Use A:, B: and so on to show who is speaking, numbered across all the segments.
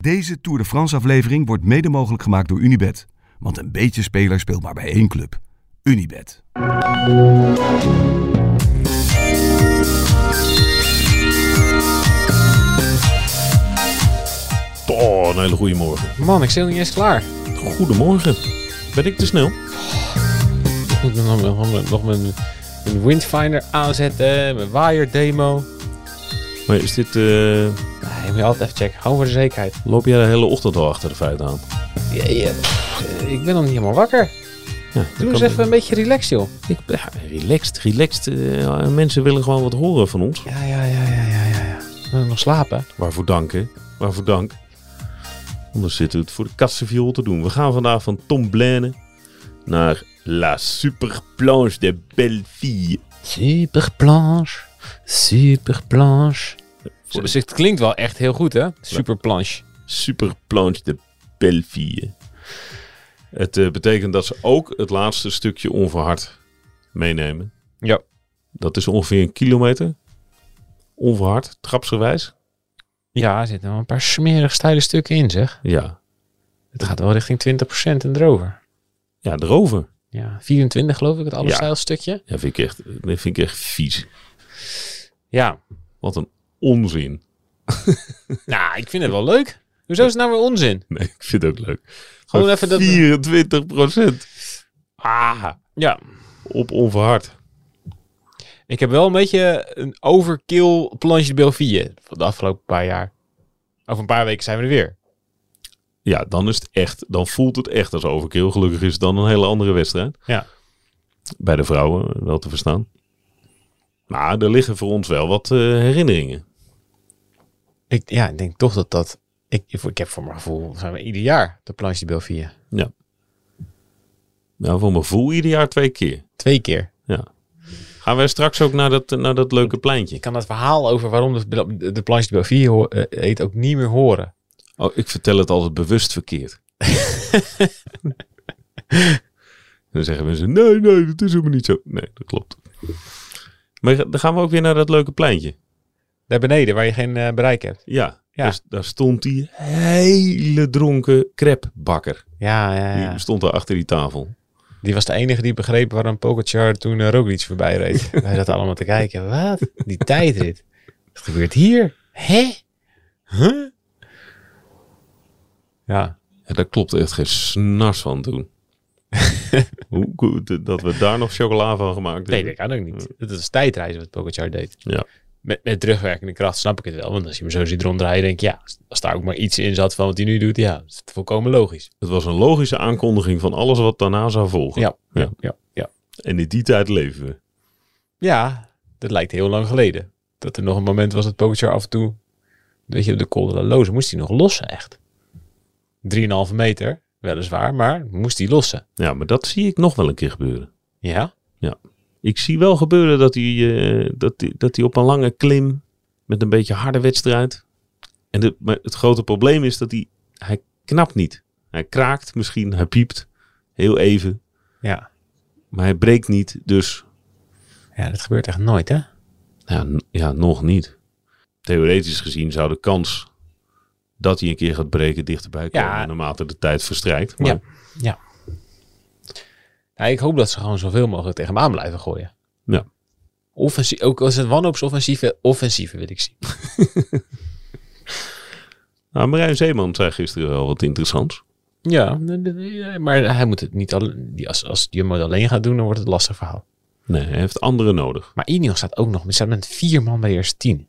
A: Deze Tour de France aflevering wordt mede mogelijk gemaakt door Unibet. Want een beetje speler speelt maar bij één club. Unibet.
B: Oh, een hele goede morgen.
C: Man, ik zit nog niet eens klaar.
B: Goedemorgen. Ben ik te snel?
C: Ik moet nog, nog, nog, nog mijn, mijn windfinder aanzetten, mijn wire demo.
B: Maar is dit, eh,
C: Nee, moet je altijd even checken. Hou voor de zekerheid.
B: loop jij de hele ochtend al achter de feiten aan?
C: Ja, ja, pff, eh, Ik ben nog niet helemaal wakker.
B: Ja, dat
C: Doe eens
B: kan-
C: even een beetje relaxed, joh.
B: Ik, ja, relaxed, relaxed. eh, mensen willen gewoon wat horen van ons.
C: Ja, ja, ja, ja, ja, ja. ja. Moet ik nog slapen?
B: Waarvoor dank, hè? Waarvoor dank. Anders zitten we het voor de kassenviool te doen. We gaan vandaag van Tom Blaine naar La Super Planche de Belleville.
C: Super planche, super planche.
B: Voor
C: Dus
B: de
C: het klinkt wel echt heel goed, hè? Super planche.
B: Super Planche de Belleville. Het eh, betekent dat ze ook het laatste stukje onverhard meenemen.
C: Ja.
B: Dat is ongeveer een kilometer. Onverhard, trapsgewijs.
C: Ja, er zitten wel een paar smerig steile stukken in, zeg.
B: Ja.
C: Het gaat wel richting 20% en erover.
B: Ja, erover.
C: Ja, 24 geloof ik, het
B: Ja.
C: allersteilste stukje.
B: Ja, vind ik echt, dat vind ik echt vies.
C: Ja,
B: Wat een onzin.
C: Nou, ik vind het wel leuk. Hoezo is het nou weer onzin?
B: Nee, ik vind het ook leuk.
C: Gewoon
B: Maar
C: even dat-
B: 24 procent. Ah,
C: Ja.
B: op onverhard.
C: Ik heb wel een beetje een overkill planche de Belville van de afgelopen paar jaar. Over een paar weken zijn we er weer.
B: Ja, dan is het echt. Dan voelt het echt als overkill. Gelukkig is het dan een hele andere wedstrijd.
C: Ja.
B: Bij de vrouwen wel te verstaan. Maar er liggen voor ons wel wat eh, herinneringen.
C: Ik, ja, ik denk toch dat dat... Ik, ik heb voor mijn gevoel, zijn we ieder jaar de planche de Belville.
B: Ja. Nou, voor mijn gevoel ieder jaar twee keer.
C: Twee keer.
B: Ja. Gaan wij straks ook naar dat, naar dat leuke pleintje?
C: Ik kan dat verhaal over waarom de, de, de planche de Belville ho- eh, heet ook niet meer horen.
B: Oh, ik vertel het altijd bewust verkeerd. dan zeggen mensen, nee, nee, dat is helemaal niet zo. Nee, dat klopt. Maar dan gaan we ook weer naar dat leuke pleintje.
C: Daar beneden, waar je geen eh, bereik hebt.
B: Ja,
C: Ja.
B: Dus daar stond die hele dronken crepebakker.
C: Ja, ja, ja.
B: Die stond daar achter die tafel.
C: Die was de enige die begreep waarom Pogacar toen uh, Roglic voorbij reed. Wij zaten allemaal te kijken. Wat? Die tijdrit. Wat gebeurt hier? Hè? Huh? Ja.
B: Ja, daar klopt echt geen snars van toen. Hoe goed dat we daar nog chocola van gemaakt
C: Nee,
B: hebben.
C: dat kan ook niet. Dat dus is tijdreizen wat Pogacar deed.
B: Ja.
C: Met, met terugwerkende kracht snap ik het wel. Want als je hem zo ziet ronddraaien, denk je... Ja, als daar ook maar iets in zat van wat hij nu doet... Ja, dat is volkomen logisch.
B: Het was een logische aankondiging van alles wat daarna zou volgen.
C: Ja,
B: Ja.
C: ja, ja. Ja,
B: En in die tijd leven we.
C: ja dat lijkt heel lang geleden. Dat er nog een moment was dat Pogacar af en toe... Weet je, op de Col de la Loze moest hij nog lossen, echt. 3,5 meter, weliswaar, maar moest hij lossen.
B: Ja, maar dat zie ik nog wel een keer gebeuren.
C: Ja?
B: Ik zie wel gebeuren dat hij, eh, dat hij, dat hij op een lange klim met een beetje harde wedstrijd. En de, maar het grote probleem is dat hij, hij knapt niet. Hij kraakt misschien, hij piept heel even,
C: Ja.
B: maar hij breekt niet. Dus
C: Ja, dat gebeurt echt nooit, hè?
B: ja, n- ja, nog niet. Theoretisch gezien zou de kans dat hij een keer gaat breken dichterbij komen
C: Ja.
B: naarmate de tijd verstrijkt. Maar
C: Ja. Ja. Nou, ik hoop dat ze gewoon zoveel mogelijk tegen hem aan blijven gooien.
B: Ja.
C: Offensie, ook als het wanhoopsoffensieve, offensieve wil ik zien.
B: Nou, Marijn Zeeman zei gisteren wel wat interessants.
C: Ja, maar hij moet het niet alleen... die- Als, als Jumbo het alleen gaat doen, dan wordt het een lastig verhaal.
B: Nee, hij heeft anderen nodig.
C: Maar Ineos staat ook nog, staat met vier man bij de eerste tien.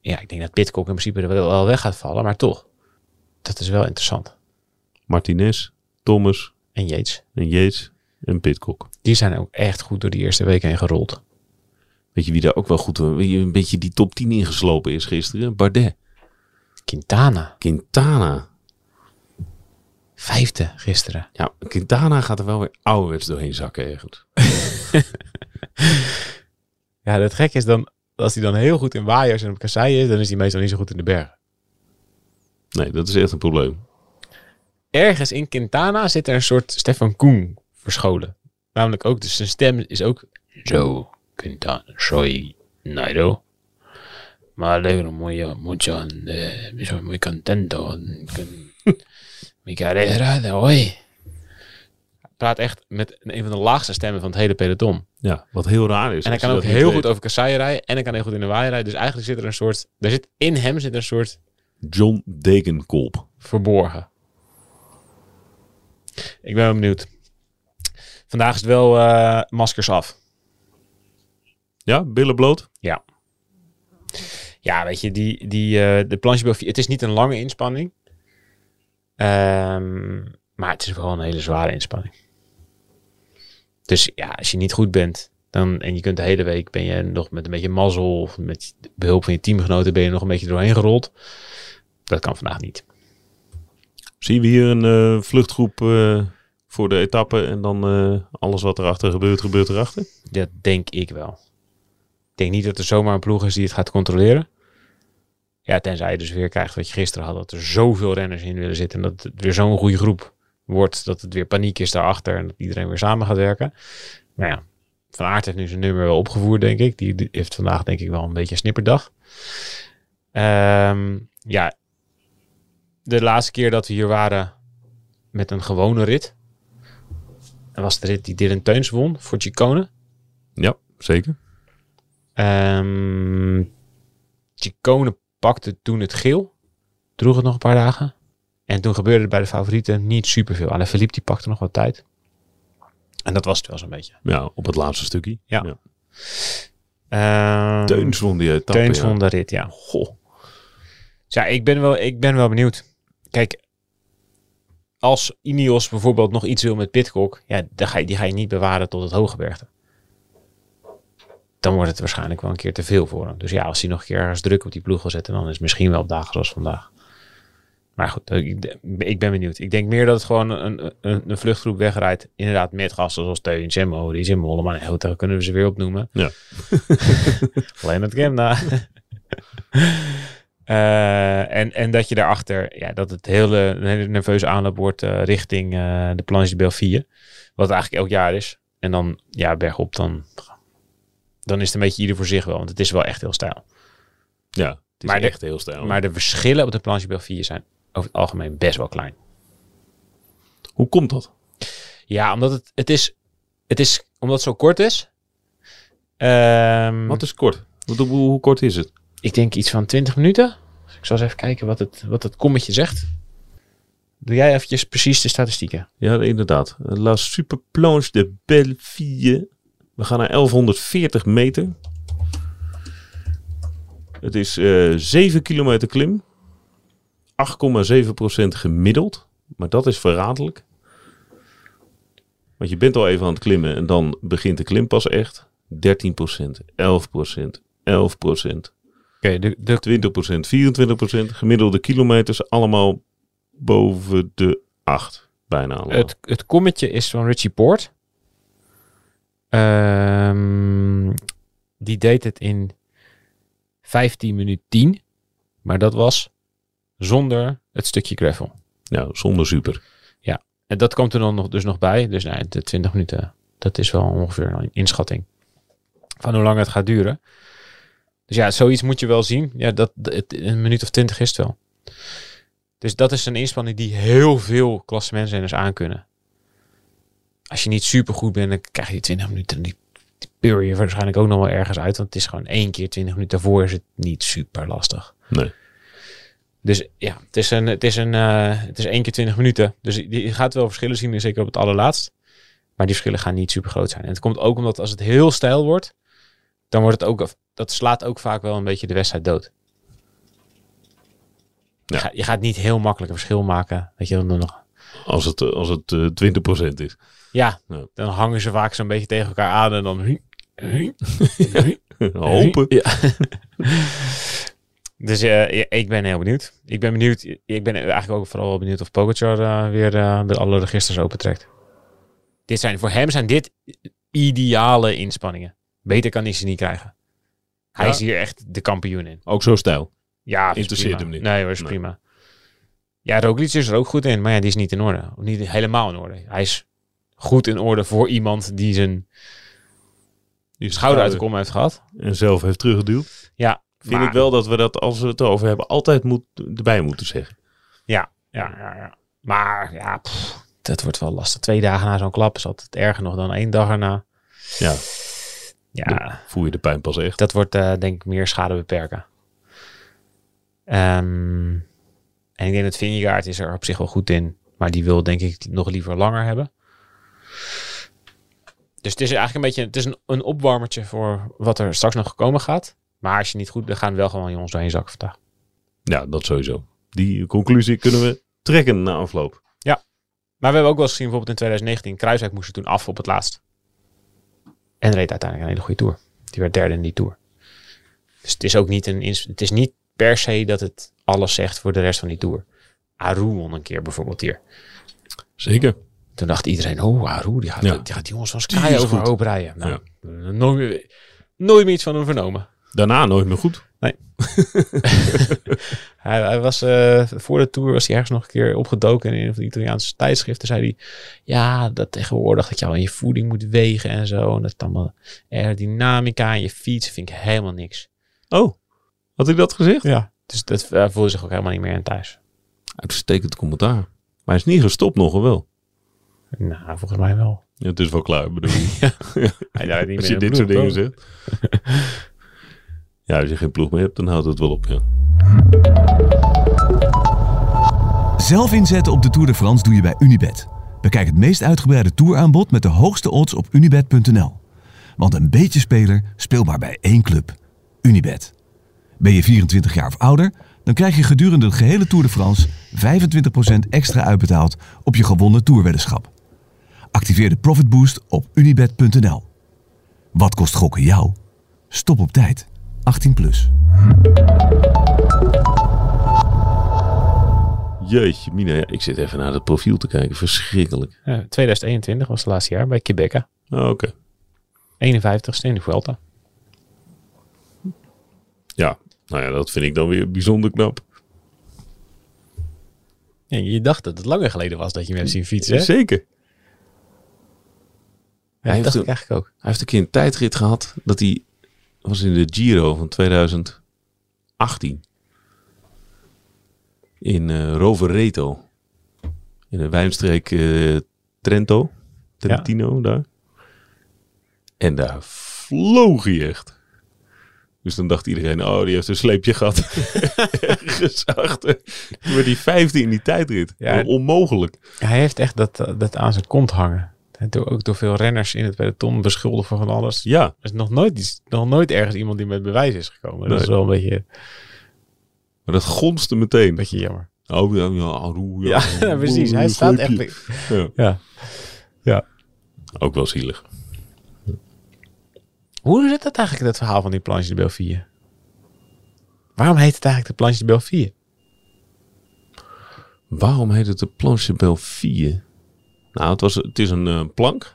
C: Ja, ik denk dat Pitcock in principe er wel wel weg gaat vallen, maar toch. Dat is wel interessant.
B: Martinez, Thomas
C: En Yates,
B: en Yates en Pitcock.
C: die zijn ook echt goed door die eerste week heen gerold.
B: Weet je wie daar ook wel goed wie een beetje die top 10 ingeslopen is gisteren? Bardet.
C: Quintana,
B: Quintana.
C: vijfde gisteren.
B: Ja, Quintana gaat er wel weer ouderwets doorheen zakken ergens.
C: Ja, het gek is dan, als hij dan heel goed in waaiers en op kasseien is, dan is hij meestal niet zo goed in de bergen.
B: Nee, dat is echt een probleem.
C: Ergens in Quintana zit er een soort Stefan Koen verscholen. Namelijk ook, dus zijn stem is ook zo Quintana, soy Nairo. Ma alegro muy, mucho de, soy muy contento. con Mi carrera de hoy. Praat echt met een van de laagste stemmen van het hele peloton.
B: Ja, wat heel raar is.
C: En
B: als
C: hij kan
B: je
C: ook
B: dat niet
C: heel
B: weet.
C: goed over kasseien rijden. En hij kan heel goed in de waai rijden. Dus eigenlijk zit er een soort... Daar zit, in hem zit er een soort
B: John Degenkolb.
C: verborgen. Ik ben wel benieuwd. Vandaag is het wel eh, maskers af.
B: Ja, billen bloot.
C: Ja. Ja, weet je, die, die, eh, de planchebel, het is niet een lange inspanning. Ehm, maar het is wel een hele zware inspanning. Dus ja, als je niet goed bent, dan, en je kunt de hele week, ben je nog met een beetje mazzel, of met behulp van je teamgenoten, ben je nog een beetje doorheen gerold. Dat kan vandaag niet.
B: Zien we hier een eh, vluchtgroep eh, voor de etappe. En dan eh, alles wat erachter gebeurt, gebeurt erachter.
C: Dat denk ik wel. Ik denk niet dat er zomaar een ploeg is die het gaat controleren. Ja, tenzij je dus weer krijgt wat je gisteren had. Dat er zoveel renners in willen zitten. En dat het weer zo'n goede groep wordt. Dat het weer paniek is daarachter. En dat iedereen weer samen gaat werken. Maar ja, Van Aert heeft nu zijn nummer wel opgevoerd, denk ik. Die die heeft vandaag denk ik wel een beetje een snipperdag. Ehm, ja, de laatste keer dat we hier waren met een gewone rit. Was de rit die Dylan Teuns won voor Chicone.
B: Ja, zeker.
C: Ehm Chicone pakte toen het geel. Droeg het nog een paar dagen. En toen gebeurde er bij de favorieten niet superveel. Alain Philippe die pakte nog wat tijd. En dat was het wel zo'n beetje.
B: Ja, op het laatste stukje.
C: Ja. Ehm,
B: Teuns won die etappe.
C: Teuns
B: eh, ja.
C: won de rit, ja. Goh. Dus ja, ik ben, wel, ik ben wel benieuwd. Kijk, als Ineos bijvoorbeeld nog iets wil met Pitcock, ja, dan ga je, die ga je niet bewaren tot het hooggebergte. Dan wordt het waarschijnlijk wel een keer te veel voor hem. Dus ja, als hij nog een keer ergens druk op die ploeg wil zetten, dan is het misschien wel op dagen zoals vandaag. Maar goed, ik, ik ben benieuwd. Ik denk meer dat het gewoon een, een, een vluchtgroep wegrijdt. Inderdaad, met gasten zoals Teuns en Modis en Mollema. En Hilton kunnen we ze weer opnoemen. Leonard Kemna. Eh en, en dat je daarachter, ja, dat het hele, een hele nerveuze aanloop wordt eh, richting eh, de Planche de Belfie. Wat eigenlijk elk jaar is. En dan, ja, bergop, dan, dan is het een beetje ieder voor zich wel. Want het is wel echt heel stijl.
B: Ja, het is
C: Maar de-
B: echt heel stijl.
C: Maar de verschillen op de Planche de Belfie zijn over het algemeen best wel klein.
B: Hoe komt dat?
C: Ja, omdat het, het is, het is, omdat het zo kort is. Ehm,
B: Wat is kort? Wat, hoe, hoe kort is het?
C: ik denk iets van 20 minuten. Dus ik zal eens even kijken wat het, wat het kommetje zegt. Doe jij eventjes precies de statistieken?
B: Ja, inderdaad. La Superplanche de Belleville. We gaan naar 1140 meter. Het is eh 7 kilometer klim. 8,7% gemiddeld. Maar dat is verraderlijk. Want je bent al even aan het klimmen en dan begint de klim pas echt. 13%, 11%, 11%.
C: Oké, de,
B: 20%, 24%. Gemiddelde kilometers allemaal boven de 8. Bijna allemaal.
C: het, het kommetje is van Richie Poort. Ehm, die deed het in 15 minuten 10. Maar dat was zonder het stukje gravel.
B: Ja, zonder super.
C: En dat komt er dan nog, dus nog bij. Dus nee, de 20 minuten, dat is wel ongeveer een inschatting van hoe lang het gaat duren. Dus ja, zoiets moet je wel zien. Ja, dat, het, een minuut of twintig is het wel. Dus dat is een inspanning die heel veel klassementsrenners aankunnen. Als je niet super goed bent, dan krijg je die 20 minuten. en Die, die peur je waarschijnlijk ook nog wel ergens uit. Want het is gewoon één keer 20 minuten. Daarvoor is het niet super lastig.
B: Nee.
C: Dus ja, het is, een, het, is een, eh, het is één keer 20 minuten. Dus je je gaat wel verschillen zien, zeker op het allerlaatst. Maar die verschillen gaan niet super groot zijn. En het komt ook omdat als het heel stijl wordt, dan wordt het ook, dat slaat ook vaak wel een beetje de wedstrijd dood.
B: Ja.
C: Je, gaat, je gaat niet heel makkelijk een verschil maken. Weet je, dan nog.
B: Als het, eh, als het eh 20% is.
C: Ja,
B: Ja.
C: dan hangen ze vaak zo'n beetje tegen elkaar aan en dan.
B: Hopen.
C: Ja. dus eh, ja, ik ben heel benieuwd. Ik ben benieuwd. Ik ben eigenlijk ook vooral wel benieuwd of Pogacar eh, weer eh, de alle registers opentrekt. Dit zijn, voor hem zijn dit ideale inspanningen. Beter kan hij ze niet krijgen. Hij
B: Ja.
C: is hier echt de kampioen in.
B: Ook zo stijl.
C: Ja,
B: Interesseert hem
C: prima.
B: niet.
C: Nee, was
B: Nee.
C: prima. Ja, Roglic is er ook goed in, maar ja, die is niet in orde. Of Niet helemaal in orde. Hij is goed in orde voor iemand die zijn
B: Die
C: schouder uit de kom heeft gehad.
B: En zelf heeft teruggeduwd.
C: Ja,
B: vind
C: Maar-
B: ik wel dat we dat, als we het erover hebben, altijd moet, erbij moeten zeggen.
C: Ja, ja, ja. Maar ja, pff, dat wordt wel lastig. Twee dagen na zo'n klap is altijd erger nog dan één dag erna.
B: Ja.
C: Ja,
B: Voel je de pijn pas echt.
C: dat wordt eh, denk ik meer schade beperken. Ehm, en ik denk dat Vingegaard is er op zich wel goed in. Maar die wil denk ik nog liever langer hebben. Dus het is eigenlijk een beetje het is een, een opwarmertje voor wat er straks nog gekomen gaat. Maar als je niet goed, dan gaan wel gewoon jongens doorheen zakken vandaag.
B: Ja, dat sowieso. Die conclusie kunnen we trekken na afloop.
C: Maar we hebben ook wel eens gezien, bijvoorbeeld in 2019, Kruiswijk moest er toen af op het laatst. En reed uiteindelijk een hele goede tour. Die werd derde in die tour. Dus het is ook niet een. ins- Het is niet per se dat het alles zegt voor de rest van die tour. Aru won een keer bijvoorbeeld hier.
B: Zeker.
C: Toen dacht iedereen, oh, Aru, die gaat
B: Ja.
C: die, gaat die jongens van
B: Die
C: Sky
B: is
C: overhoop rijden. Nou, nooit, nooit meer iets van hem vernomen.
B: Daarna nooit meer goed.
C: Hij, hij was, eh, voor de tour was hij ergens nog een keer opgedoken in een van de Italiaanse tijdschriften. Zei hij, ja, dat tegenwoordig dat je al je voeding moet wegen en zo. En dat het allemaal aerodynamica en je fiets vind ik helemaal niks.
B: Oh, had ik dat gezegd?
C: Ja. Dus dat hij voelde zich ook helemaal niet meer in thuis.
B: Uitstekend commentaar. Maar hij is niet gestopt nog, of wel?
C: Nou, volgens mij wel.
B: Ja, het is wel klaar, bedoel ik.
C: Hij daar niet
B: Als je
C: in de
B: dit soort
C: ploeg,
B: dingen
C: toch?
B: zegt. ja, als je geen ploeg meer hebt, dan houdt het wel op, ja.
A: Zelf inzetten op de Tour de France doe je bij Unibet. Bekijk het meest uitgebreide touraanbod met de hoogste odds op unibet.nl. Want een beetje speler speelt maar bij één club. Unibet. Ben je 24 jaar of ouder, dan krijg je gedurende de gehele Tour de France 25% extra uitbetaald op je gewonnen toerweddenschap. Activeer de Profit Boost op unibet.nl. Wat kost gokken jou? Stop op tijd. 18 plus.
B: Jeetje, Mina, ja, ik zit even naar het profiel te kijken. Verschrikkelijk.
C: Ja, 2021 Eh, was het laatste jaar bij Quebec.
B: Oh, Oké.
C: 51ste in de Vuelta.
B: Ja, nou ja, dat vind ik dan weer bijzonder knap.
C: je dacht dat het langer geleden was dat je hem hebt zien fietsen.
B: Zeker. Hij
C: dat
B: heeft
C: dacht ik
B: een-
C: eigenlijk ook.
B: Hij heeft een keer een tijdrit gehad dat hij was in de Giro van 2018 in eh Rovereto in een wijnstreek eh, Trento, Trentino daar. En daar vloog hij echt. Dus dan dacht iedereen, oh, die heeft een sleepje gehad. Ergens achter. Toen werd hij vijfde in die tijdrit.
C: Ja.
B: Onmogelijk.
C: Hij heeft echt dat, dat aan zijn kont hangen. En door, ook door veel renners in het peloton beschuldigd van van alles. Er
B: Ja,
C: is nog nooit, iets- nog nooit ergens iemand die met bewijs is gekomen. Dat
B: Nee.
C: is wel een beetje, een
B: maar dat gonste meteen.
C: beetje jammer.
B: Oh, ja, ja, Aru, ja,
C: Ja, precies. Hij staat
B: sleepje.
C: echt...
B: Ja.
C: Ja.
B: Ook wel zielig.
C: Hoe zit dat eigenlijk, dat verhaal van die Planche de Belfie? Waarom heet het eigenlijk de Planche de Belfie?
B: Waarom heet het de planche Belfie? Nou, het, was, het is een eh, plank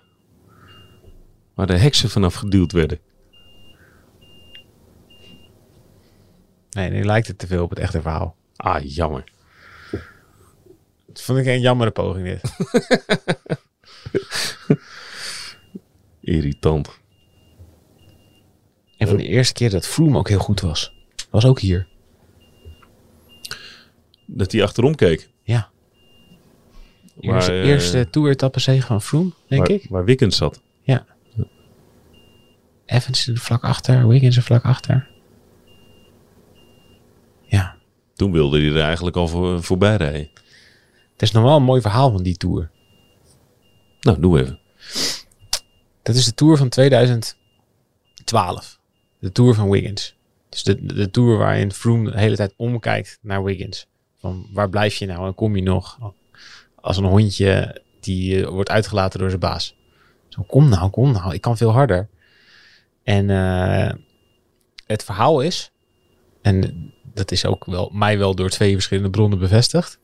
B: waar de heksen vanaf geduwd werden.
C: Nee, nu lijkt het te veel op het echte verhaal.
B: Ah, jammer.
C: Dat vond ik een jammere poging dit.
B: Irritant.
C: en van de eerste keer dat Vroom ook heel goed was. Was ook hier.
B: Dat hij achterom keek.
C: Ja. Eerste,
B: eh,
C: eerste toer zege van Vroom, denk
B: waar,
C: ik.
B: Waar Wickens zat.
C: Ja. Evans er vlak achter, Wiggins er vlak achter. Ja.
B: Toen wilde hij er eigenlijk al voor, voorbij rijden.
C: Het is nog wel een mooi verhaal van die tour.
B: Nou, doe even.
C: Dat is de tour van 2012. De tour van Wiggins. Dus de, de tour waarin Froome de hele tijd omkijkt naar Wiggins. Van waar blijf je nou en kom je nog? Als een hondje die eh, wordt uitgelaten door zijn baas. Zo, kom nou, kom nou, ik kan veel harder. En eh, het verhaal is, en dat is ook wel, mij wel door twee verschillende bronnen bevestigd,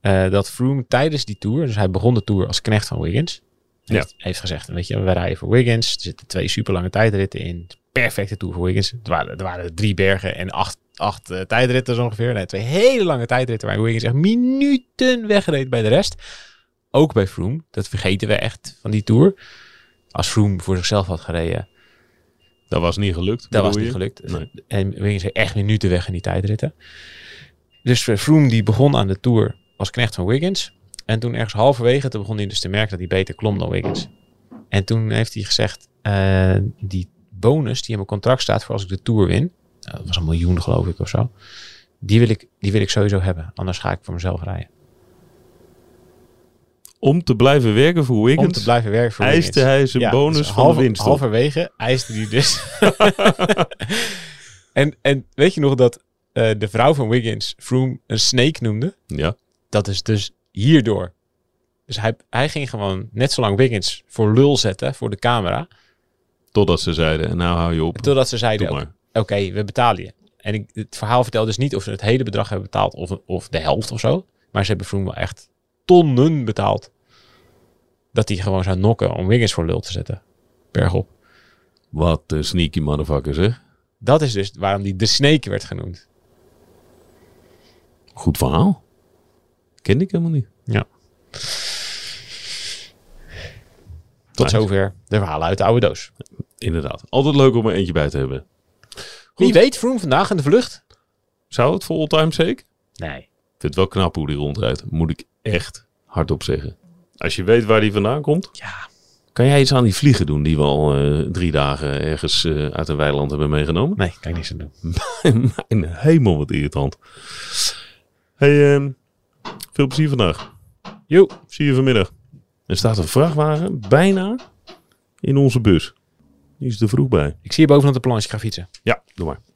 C: eh, dat Froome tijdens die tour, dus hij begon de tour als knecht van Wiggins,
B: Ja.
C: heeft, heeft gezegd, weet je, we rijden voor Wiggins, er zitten twee super lange tijdritten in, perfecte tour voor Wiggins. Er waren, er waren drie bergen en acht, acht eh, tijdritten zo ongeveer, nee, twee hele lange tijdritten waar Wiggins echt minuten wegreed bij de rest. Ook bij Froome, dat vergeten we echt van die tour. Als Froome voor zichzelf had gereden,
B: Dat was niet gelukt.
C: Dat was
B: bedoel je?
C: niet gelukt.
B: Nee.
C: En Wiggins heeft echt minuten weg in die tijdritten. Dus Froome die begon aan de Tour als knecht van Wiggins. En toen ergens halverwege, toen begon hij dus te merken dat hij beter klom dan Wiggins. En toen heeft hij gezegd, eh, die bonus die in mijn contract staat voor als ik de Tour win. nou, Dat was een miljoen geloof ik of zo. Die wil ik, die wil ik sowieso hebben. Anders ga ik voor mezelf rijden.
B: Om te blijven werken voor Wiggins.
C: Om te blijven werken voor Wiggins.
B: eiste dus hij zijn
C: Ja,
B: bonus
C: dus
B: van
C: halver-
B: de winst op.
C: Halverwege eiste die dus. en, en weet je nog dat eh, de vrouw van Wiggins Froome een snake noemde?
B: Ja.
C: Dat is dus hierdoor. Dus hij, hij ging gewoon net zo lang Wiggins voor lul zetten voor de camera.
B: Totdat ze zeiden, en nou hou je op.
C: Totdat ze zeiden,
B: Doe
C: oké,
B: maar.
C: we betalen je. En ik, het verhaal vertelt dus niet of ze het hele bedrag hebben betaald of, of de helft of zo. Maar ze hebben Froome wel echt tonnen betaald. Dat hij gewoon zou nokken om Wiggins voor lul te zetten. Bergop.
B: Wat een sneaky motherfucker zeg.
C: Dat is dus waarom die de snake werd genoemd.
B: Goed verhaal. Ken ik helemaal niet.
C: Tot
B: Nice.
C: zover de verhalen uit de oude doos.
B: Inderdaad. Altijd leuk om er eentje bij te hebben.
C: Wie weet Vroom vandaag in de vlucht?
B: Zou het voor all-time zeker?
C: Nee.
B: Ik vind het wel knap hoe die rondrijdt. Moet ik echt hardop zeggen. Als je weet waar die vandaan komt.
C: Ja.
B: Kan jij iets aan die vliegen doen die we al eh, drie dagen ergens eh, uit een weiland hebben meegenomen?
C: Nee, kan ik niks aan doen.
B: Mijn hemel, wat irritant. Hey, ehm, veel plezier vandaag.
C: Jo.
B: Zie je vanmiddag. Er staat een vrachtwagen bijna in onze bus. Die is er vroeg bij.
C: Ik zie je bovenop de planche gaan fietsen.
B: Ja, doe maar.